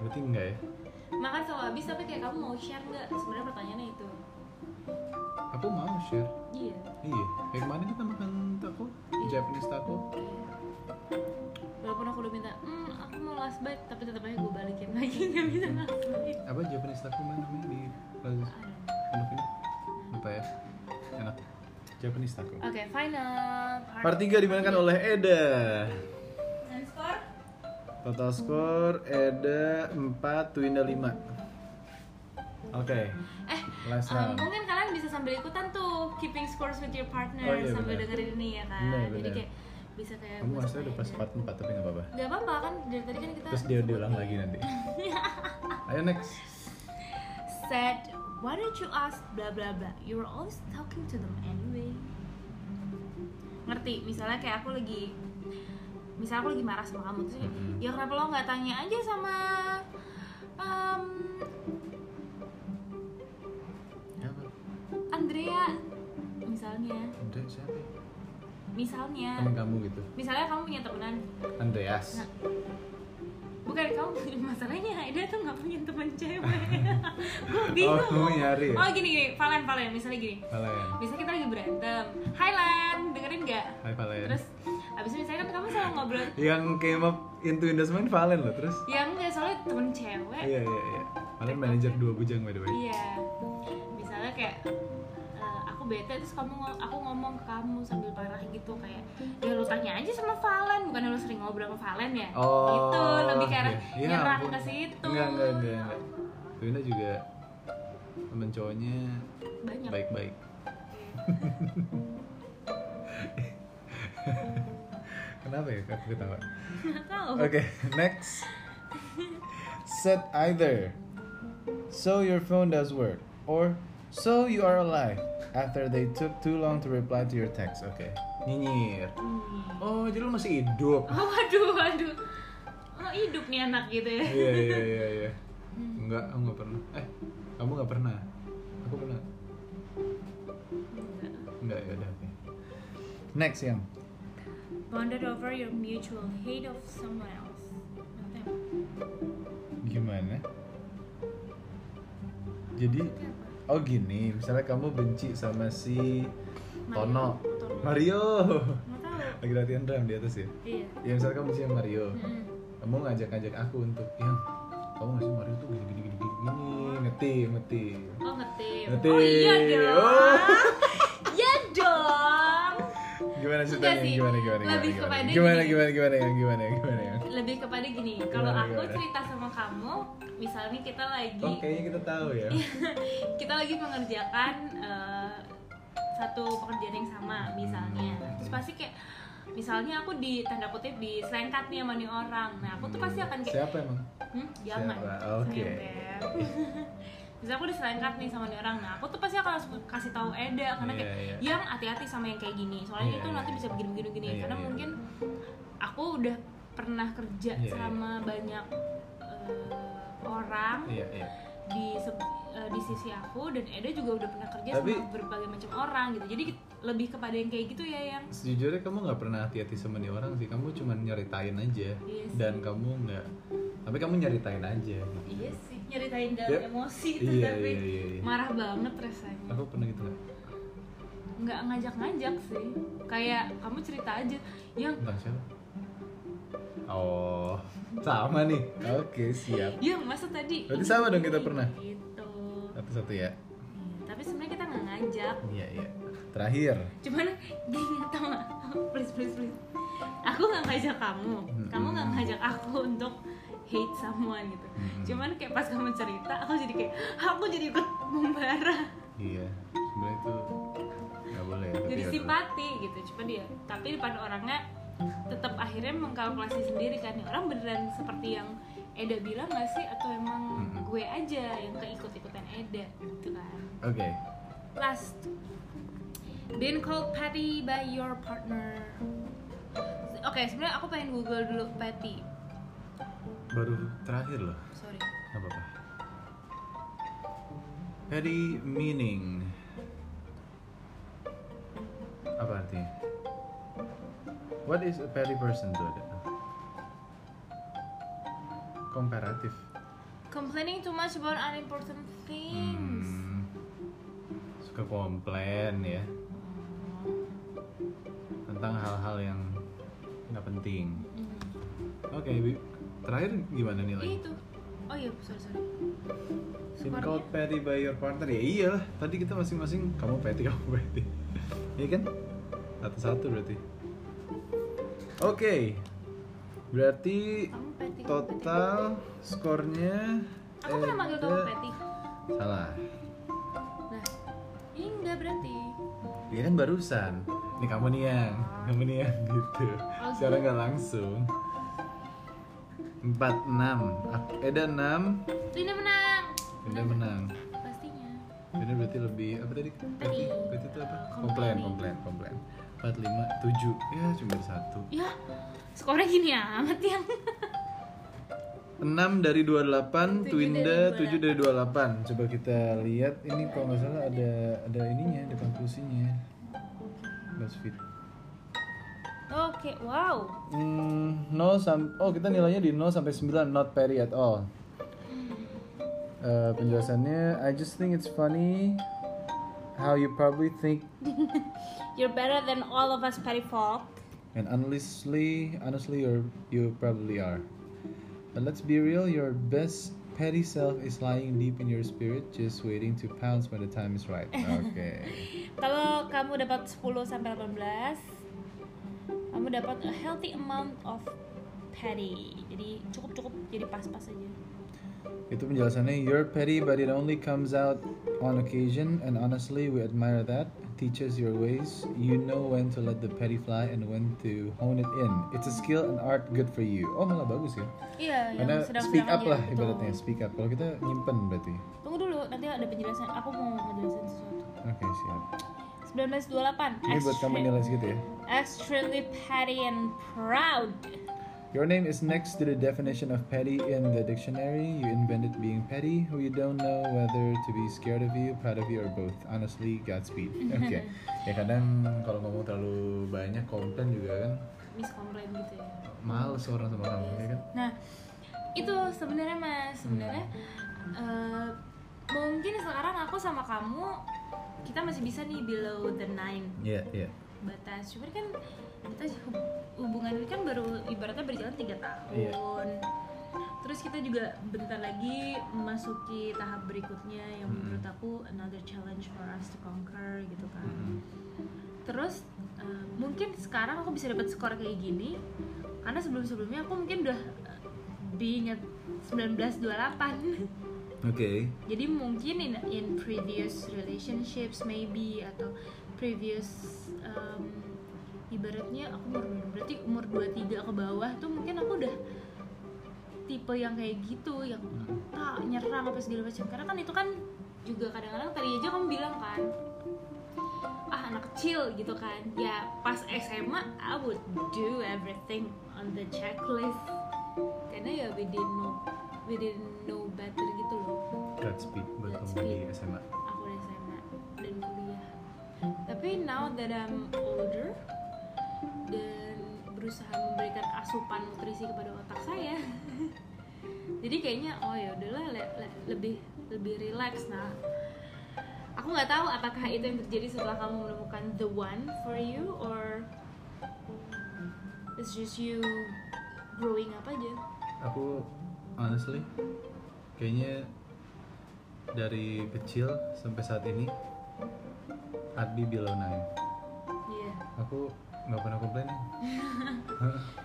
Speaker 1: Berarti enggak ya?
Speaker 2: makan selalu habis tapi kayak kamu mau share nggak sebenarnya pertanyaannya itu
Speaker 1: Aku mau share.
Speaker 2: iya
Speaker 1: Iya. Kayak kemarin kita makan taco, Japanese taco.
Speaker 2: walaupun aku udah minta hmm aku mau last bite tapi tetap aja gue balikin lagi nggak bisa last bite
Speaker 1: Apa Japanese taco mana namanya di Plaza Pondok ini? Lupa ya. Enak. Japanese taco.
Speaker 2: oke final
Speaker 1: Part 3 dimenangkan oleh Eda.
Speaker 2: dan skor
Speaker 1: Total skor Eda 4, Twinda 5. Oke.
Speaker 2: eh
Speaker 1: Last
Speaker 2: um,
Speaker 1: round.
Speaker 2: mungkin kalian bisa sambil ikutan tuh keeping scores with your partner
Speaker 1: Oh, iya,
Speaker 2: sambil
Speaker 1: benar.
Speaker 2: dengerin ini ya kan
Speaker 1: Benar,
Speaker 2: jadi
Speaker 1: benar.
Speaker 2: kayak bisa kayak
Speaker 1: Kamu
Speaker 2: gue
Speaker 1: harusnya
Speaker 2: sama
Speaker 1: udah pas
Speaker 2: Eda.
Speaker 1: part 4 tapi nggak apa-apa.
Speaker 2: nggak apa-apa kan dari tadi kan kita
Speaker 1: Terus dia
Speaker 2: sebutin.
Speaker 1: diulang lagi nanti. Ayo next.
Speaker 2: said why don't you ask blah blah blah you're always talking to them anyway ngerti misalnya kayak aku lagi misalnya aku lagi marah sama kamu terus kayak,
Speaker 1: Mhm.
Speaker 2: ya kenapa lo nggak tanya aja sama em,
Speaker 1: Ya apa?
Speaker 2: Andrea misalnya
Speaker 1: Udah siapa? ya?
Speaker 2: misalnya
Speaker 1: Temen kamu gitu.
Speaker 2: misalnya kamu punya temenan
Speaker 1: Andreas.
Speaker 2: bukan kamu masalahnya Aida tuh nggak punya teman cewek gue
Speaker 1: Oh,
Speaker 2: bingung
Speaker 1: kamu nyari ya?
Speaker 2: oh gini gini Valen Valen misalnya gini
Speaker 1: Valen.
Speaker 2: misalnya kita lagi berantem Hai Lan dengerin nggak
Speaker 1: Hai Valen.
Speaker 2: terus abis itu misalnya kan kamu selalu ngobrol
Speaker 1: yang came up into investment Valen loh terus.
Speaker 2: ya enggak soalnya temen cewek
Speaker 1: Iya iya iya. Valen manajer dua bujang by the way.
Speaker 2: iya misalnya kayak eh, aku bete terus kamu ngo- aku ngomong ke kamu sambil parah gitu kayak ya lu tanya aja sama Valen bukan lu sering ngobrol sama Valen ya gitu lebih ke arah
Speaker 1: iya. Iya,
Speaker 2: nyerang
Speaker 1: Oh, ampun.
Speaker 2: ke situ
Speaker 1: Enggak enggak enggak. enggak. Twinda juga temen cowoknya
Speaker 2: banyak
Speaker 1: baik-baik. Kenapa ya kak ketawa?
Speaker 2: nggak tahu
Speaker 1: Oke, next. Set either. So your phone does work, or so you are alive. After they took too long to reply to your text. Oke. Nyinyir.
Speaker 2: Hmm.
Speaker 1: Oh, jadi lu masih hidup.
Speaker 2: oh waduh waduh oh hidup nih anak gitu ya
Speaker 1: Iya, iya, iya, iya. Enggak, aku enggak pernah. Eh, kamu enggak pernah. Aku pernah.
Speaker 2: Enggak.
Speaker 1: Enggak, ya udah. oke. Next yang
Speaker 2: bonded over your mutual hate of someone else Maksudnya apa?
Speaker 1: gimana? Jadi
Speaker 2: Maksudnya apa?
Speaker 1: Oh gini, misalnya kamu benci sama si Tono.
Speaker 2: Tono.
Speaker 1: Mario.
Speaker 2: Nggak tahu.
Speaker 1: Lagi latihan drum di atas ya.
Speaker 2: Iya.
Speaker 1: Ya misalnya kamu benci sama Mario.
Speaker 2: Mm-mm.
Speaker 1: Kamu ngajak-ngajak aku untuk yang kamu nggak sih Mario tuh gini gini gini gini, gini ngeti ngeti.
Speaker 2: Oh ngetim.
Speaker 1: Ngetim.
Speaker 2: Oh iya
Speaker 1: Oh.
Speaker 2: dong. Iya dong.
Speaker 1: Gimana
Speaker 2: Enggak
Speaker 1: ceritanya?
Speaker 2: sih.
Speaker 1: Gimana gimana gimana?
Speaker 2: Lebih
Speaker 1: gimana,
Speaker 2: kepada
Speaker 1: gimana,
Speaker 2: gini.
Speaker 1: gimana gimana yang gimana gimana yang.
Speaker 2: Lebih kepada gini, kalau
Speaker 1: Gimana,
Speaker 2: aku
Speaker 1: gimana?
Speaker 2: cerita sama kamu, misalnya kita lagi
Speaker 1: Oh kayaknya kita tahu ya.
Speaker 2: kita lagi mengerjakan eh, satu pekerjaan yang sama misalnya
Speaker 1: Hmm.
Speaker 2: terus pasti kayak misalnya aku di tanda kutip diselengkat nih sama nih orang nah aku tuh pasti akan kayak
Speaker 1: Siapa emang?
Speaker 2: hmm, jangan
Speaker 1: Siapa? Oke.
Speaker 2: Sayang, Beb. Misalnya aku diselengkat nih sama nih orang, nah aku tuh pasti akan langsung kasih tahu Eda karena kayak
Speaker 1: Iya, iya.
Speaker 2: yang hati-hati sama yang kayak gini, soalnya
Speaker 1: Iya,
Speaker 2: itu
Speaker 1: iya,
Speaker 2: nanti
Speaker 1: iya.
Speaker 2: bisa begini-begini gini,
Speaker 1: Iya,
Speaker 2: karena
Speaker 1: iya.
Speaker 2: mungkin aku udah pernah kerja
Speaker 1: Iya, iya.
Speaker 2: sama banyak eh, orang
Speaker 1: Iya iya.
Speaker 2: di se- eh, di sisi aku dan Eda juga udah pernah kerja
Speaker 1: Tapi-
Speaker 2: sama berbagai macam orang gitu, jadi lebih kepada yang kayak gitu ya yang
Speaker 1: Sejujurnya kamu nggak pernah hati-hati sama nih orang sih. Kamu cuma nyeritain aja.
Speaker 2: Iya sih.
Speaker 1: Dan kamu nggak. Tapi kamu nyeritain aja. gitu.
Speaker 2: iya sih nyeritain dalam
Speaker 1: Iya.
Speaker 2: emosi itu
Speaker 1: Iya,
Speaker 2: tapi
Speaker 1: iya, iya, iya.
Speaker 2: marah banget rasanya.
Speaker 1: Aku pernah gitu nggak?
Speaker 2: nggak ngajak-ngajak sih kayak kamu cerita aja yang
Speaker 1: Tentang siapa? Oh, sama nih. Oke, siap.
Speaker 2: yang "Iya, masa tadi
Speaker 1: Berarti
Speaker 2: ini,
Speaker 1: sama dong
Speaker 2: ini,
Speaker 1: kita pernah?
Speaker 2: gitu
Speaker 1: Satu-satu ya.
Speaker 2: Iya, tapi sebenarnya kita nggak ngajak
Speaker 1: Iya, iya. Terakhir.
Speaker 2: cuman gini tau nggak please please please aku nggak ngajak kamu kamu nggak ngajak aku untuk hate someone gitu
Speaker 1: Mm-mm.
Speaker 2: cuman kayak pas kamu cerita aku jadi kayak aku jadi ikut membara
Speaker 1: Iya. Sebenarnya itu nggak boleh ya.
Speaker 2: simpati gitu cuma dia tapi depan orangnya tetap akhirnya mengkalkulasi sendiri kan ya orang beneran seperti yang Eda bilang gak sih atau emang
Speaker 1: Mm-mm.
Speaker 2: gue aja yang keikut-ikutan Eda gitu kan
Speaker 1: Okay.
Speaker 2: Last, been called Patty by your partner. Oke, sebenarnya aku pengen Google dulu Patty.
Speaker 1: Baru terakhir loh.
Speaker 2: Sorry.
Speaker 1: Gak apa-apa. Very meaning. Apa artinya? What is a petty person tuh ada? Komparatif.
Speaker 2: Complaining too much about unimportant things.
Speaker 1: Hmm. Suka komplain ya Hmm. tentang hal-hal yang nggak penting.
Speaker 2: Hmm.
Speaker 1: Oke, Bi- terakhir gimana
Speaker 2: Ih,
Speaker 1: nilai?
Speaker 2: Itu. Oh iya, sorry sorry.
Speaker 1: Been
Speaker 2: skornya?
Speaker 1: called petty by your partner ya iyalah. Tadi kita masing-masing kamu petty kamu petty, iya kan? Satu satu berarti. Oke, berarti
Speaker 2: Kamu Patty. kamu
Speaker 1: total skornya.
Speaker 2: Patty. Aku
Speaker 1: Eh,
Speaker 2: pernah manggil kamu
Speaker 1: Eda-
Speaker 2: Patty.
Speaker 1: Salah.
Speaker 2: Nah, ini enggak berarti.
Speaker 1: Iya kan barusan. Ini kamu nih yang, kamu nih yang gitu.
Speaker 2: Oh,
Speaker 1: Secara
Speaker 2: gitu.
Speaker 1: nggak langsung. Empat enam. Ak- Eda enam.
Speaker 2: Linda menang.
Speaker 1: Eda menang.
Speaker 2: Pastinya.
Speaker 1: Ini berarti lebih apa tadi? Berarti, berarti itu apa? Komplain, komplain, komplain. Empat lima tujuh. Ya cuma satu.
Speaker 2: Ya, skornya gini amat yang.
Speaker 1: 6 dari 28,
Speaker 2: Tujuh
Speaker 1: Twinda
Speaker 2: dari
Speaker 1: 7 dari 28. Coba kita lihat ini kalau nggak salah ada ada ininya, ada konklusinya. BuzzFeed.
Speaker 2: Oke, wow.
Speaker 1: Hmm, 0 sam oh kita nilainya di 0 sampai 9 not very at all. Eh, penjelasannya I just think it's funny how you probably think
Speaker 2: You're better than all of us, Patty Falk.
Speaker 1: And honestly, honestly, you're, you probably are. But let's be real, your best petty self is lying deep in your spirit, just waiting to pounce when the time is right. Okay.
Speaker 2: Kalau kamu dapat 10 sampai 18, kamu dapat a healthy amount of patty. Jadi cukup-cukup jadi pas-pas aja.
Speaker 1: Itu penjelasannya, eh? you're petty but it only comes out on occasion and honestly we admire that. Teaches your ways. You know when to let the petty fly and when to hone it in. It's a skill and art good for you. Oh malah bagus ya.
Speaker 2: Iya, yang
Speaker 1: Karena
Speaker 2: sedang
Speaker 1: speak up lah ibaratnya, speak up. Kalau kita nyimpen berarti.
Speaker 2: Tunggu dulu, nanti ada penjelasan. Aku mau ngejelasin sesuatu.
Speaker 1: Oke, siap. Ini
Speaker 2: 1928.
Speaker 1: buat kamu
Speaker 2: extre-
Speaker 1: nilai segitu ya.
Speaker 2: Extremely patty and proud.
Speaker 1: Your name is next to the definition of petty in the dictionary. You invented being petty. We don't know whether to be scared of you, proud of you, or both. Honestly, Godspeed. Oke. Ya kadang kalau ngomong terlalu banyak komplain juga kan
Speaker 2: Miss complain gitu ya.
Speaker 1: males orang sama kamu ya kan.
Speaker 2: Nah, itu sebenarnya mas sebenarnya eh, mungkin sekarang aku sama kamu kita masih bisa nih below the nine
Speaker 1: Iya, iya.
Speaker 2: batas. Cuman kan kita hub- hubungan ini kan baru ibaratnya berjalan tiga
Speaker 1: Iya.
Speaker 2: tahun. Terus kita juga bentar lagi memasuki tahap berikutnya yang
Speaker 1: Mm-mm.
Speaker 2: menurut aku another challenge for us to conquer gitu kan
Speaker 1: Mm-mm.
Speaker 2: terus eh, mungkin sekarang aku bisa dapat skor kayak gini karena sebelum sebelumnya aku mungkin udah eh, being at 1928
Speaker 1: Oke.
Speaker 2: jadi mungkin in in previous relationships maybe atau previous em, ibaratnya aku umur berarti umur 23 ke bawah tuh mungkin aku udah tipe yang kayak gitu yang tak nyerang apa segala macam karena kan itu kan juga kadang-kadang tadi aja kamu bilang kan ah anak kecil gitu kan ya pas SMA I would do everything on the checklist karena ya we didn't know we didn't know better gitu loh
Speaker 1: Godspeed buat kamu di SMA.
Speaker 2: aku udah SMA dan kuliah tapi now that I'm older dan berusaha memberikan asupan nutrisi kepada otak saya jadi kayaknya oh ya udahlah le- le- lebih lebih relax nah aku nggak tahu apakah itu yang terjadi setelah kamu menemukan the one for you or it's just you growing up aja
Speaker 1: Aku honestly kayaknya dari kecil sampai saat ini Adbi below nine.
Speaker 2: yeah
Speaker 1: Aku nggak pernah komplain. ya.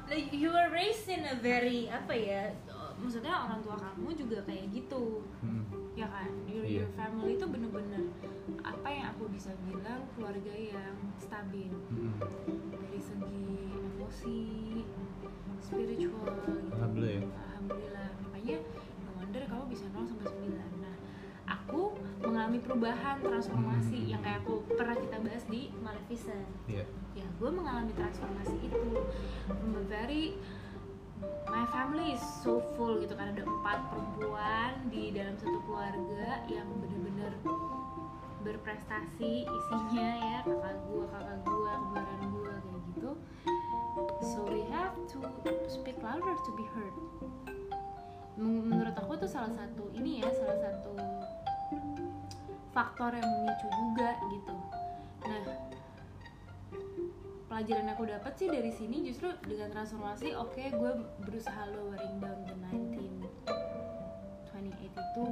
Speaker 2: Like, you were raised in a very apa ya? Maksudnya orang tua kamu juga kayak gitu.
Speaker 1: Mm-mm.
Speaker 2: ya kan your,
Speaker 1: Iya.
Speaker 2: your family itu bener-bener apa yang aku bisa bilang keluarga yang stabil
Speaker 1: Mm-mm.
Speaker 2: dari segi emosi spiritual gitu.
Speaker 1: Alhamdulillah ya.
Speaker 2: alhamdulillah makanya no wonder kamu bisa 0 sampai 9 nah aku mengalami perubahan transformasi
Speaker 1: Hmm.
Speaker 2: yang kayak aku pernah kita bahas di Maleficent
Speaker 1: Iya.
Speaker 2: ya gue mengalami transformasi itu From a very my family is so full gitu kan ada empat perempuan di dalam satu keluarga yang bener-bener berprestasi isinya ya kakak gue kakak gue kembaran gue kayak gitu so we have to speak louder to be heard Men- menurut aku tuh salah satu ini ya salah satu faktor yang memicu juga gitu nah pelajaran yang aku dapat sih dari sini justru dengan transformasi oke gue berusaha lowering down ke 19 28 itu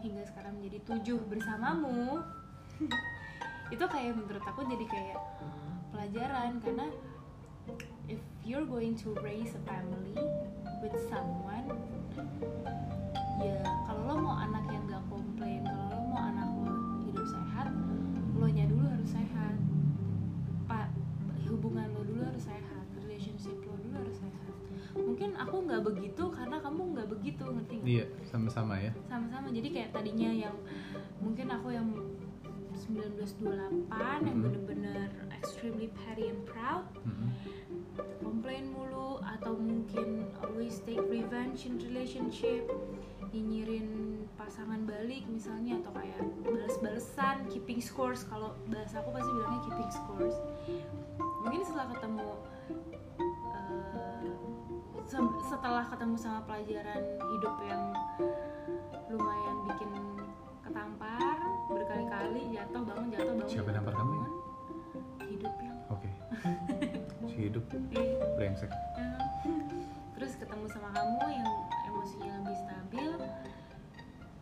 Speaker 2: hingga sekarang menjadi 7 bersamamu itu kayak menurut aku jadi kayak pelajaran karena if you're going to raise a family with someone ya kalau lo mau anak yang gak komplain kalau lo mau anak lo hidup sehat lo nya dulu harus sehat pak hubungan lo dulu harus sehat relationship lo dulu harus sehat mungkin aku nggak begitu karena kamu nggak begitu ngerti nggak?
Speaker 1: Iya, sama-sama ya.
Speaker 2: sama-sama jadi kayak tadinya yang mungkin aku yang 1928 yang
Speaker 1: Mhm.
Speaker 2: bener-bener extremely petty and proud
Speaker 1: Mm-mm.
Speaker 2: komplain mulu atau mungkin always take revenge in relationship nyinyirin pasangan balik misalnya atau kayak bales-balesan keeping scores kalau bahasa aku pasti bilangnya keeping scores mungkin setelah ketemu eh, se- setelah ketemu sama pelajaran hidup yang lumayan bikin ketampar berkali-kali jatuh bangun jatuh bangun
Speaker 1: Siapa
Speaker 2: jatuh,
Speaker 1: nampar kamu ya?
Speaker 2: bangun. hidup yang
Speaker 1: Oke. Si hidup
Speaker 2: eh,
Speaker 1: brengsek.
Speaker 2: terus ketemu sama kamu yang emosinya lebih stabil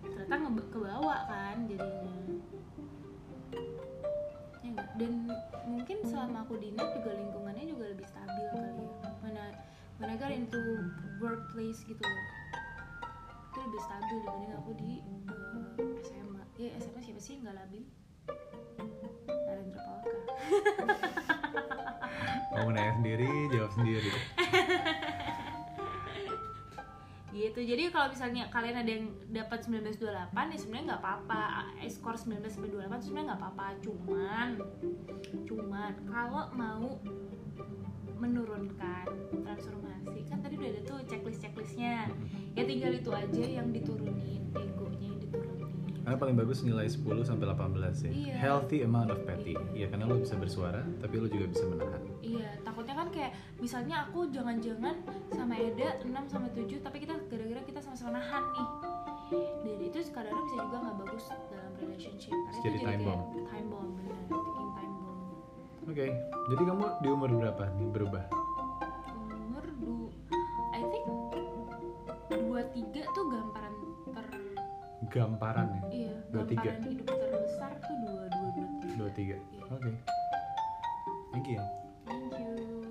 Speaker 2: ternyata ngebe- kebawa kan jadinya Ya nggak? dan mungkin selama aku dinas juga lingkungannya juga lebih stabil kali ya when I, when I got into workplace gitu loh itu lebih stabil dibanding aku di eh, SMA ya SMA siapa sih nggak labil Narendra Palka
Speaker 1: Kamu nanya sendiri, jawab sendiri.
Speaker 2: gitu jadi kalau misalnya kalian ada yang dapat 1928 ya sebenarnya nggak apa-apa Eh, skor 19 sampai 28 sebenarnya nggak apa-apa cuman cuman kalau mau menurunkan transformasi kan tadi udah ada tuh checklist checklistnya ya tinggal itu aja yang diturunin egonya yang diturunin
Speaker 1: Karena paling bagus nilai 10 sampai 18 ya.
Speaker 2: Iya.
Speaker 1: Healthy amount of petty. Iya, karena lo bisa bersuara, tapi lo juga bisa menahan.
Speaker 2: Iya, takutnya kan kayak misalnya aku jangan-jangan sama Eda 6 sama 7 tapi kita gara-gara kita sama-sama nahan nih. Dan itu kadang-kadang bisa juga nggak bagus dalam relationship karena
Speaker 1: Jadi time
Speaker 2: itu kayak time bomb bener, ticking time bomb.
Speaker 1: Oke. Jadi kamu di umur berapa nih berubah?
Speaker 2: Umur du I think 23 tuh gamparan ter
Speaker 1: Gamparan ya.
Speaker 2: iya,
Speaker 1: 23.
Speaker 2: gamparan hidup terbesar tuh 22
Speaker 1: 23.
Speaker 2: 23.
Speaker 1: Oke. Thank you. ya.
Speaker 2: Thank you.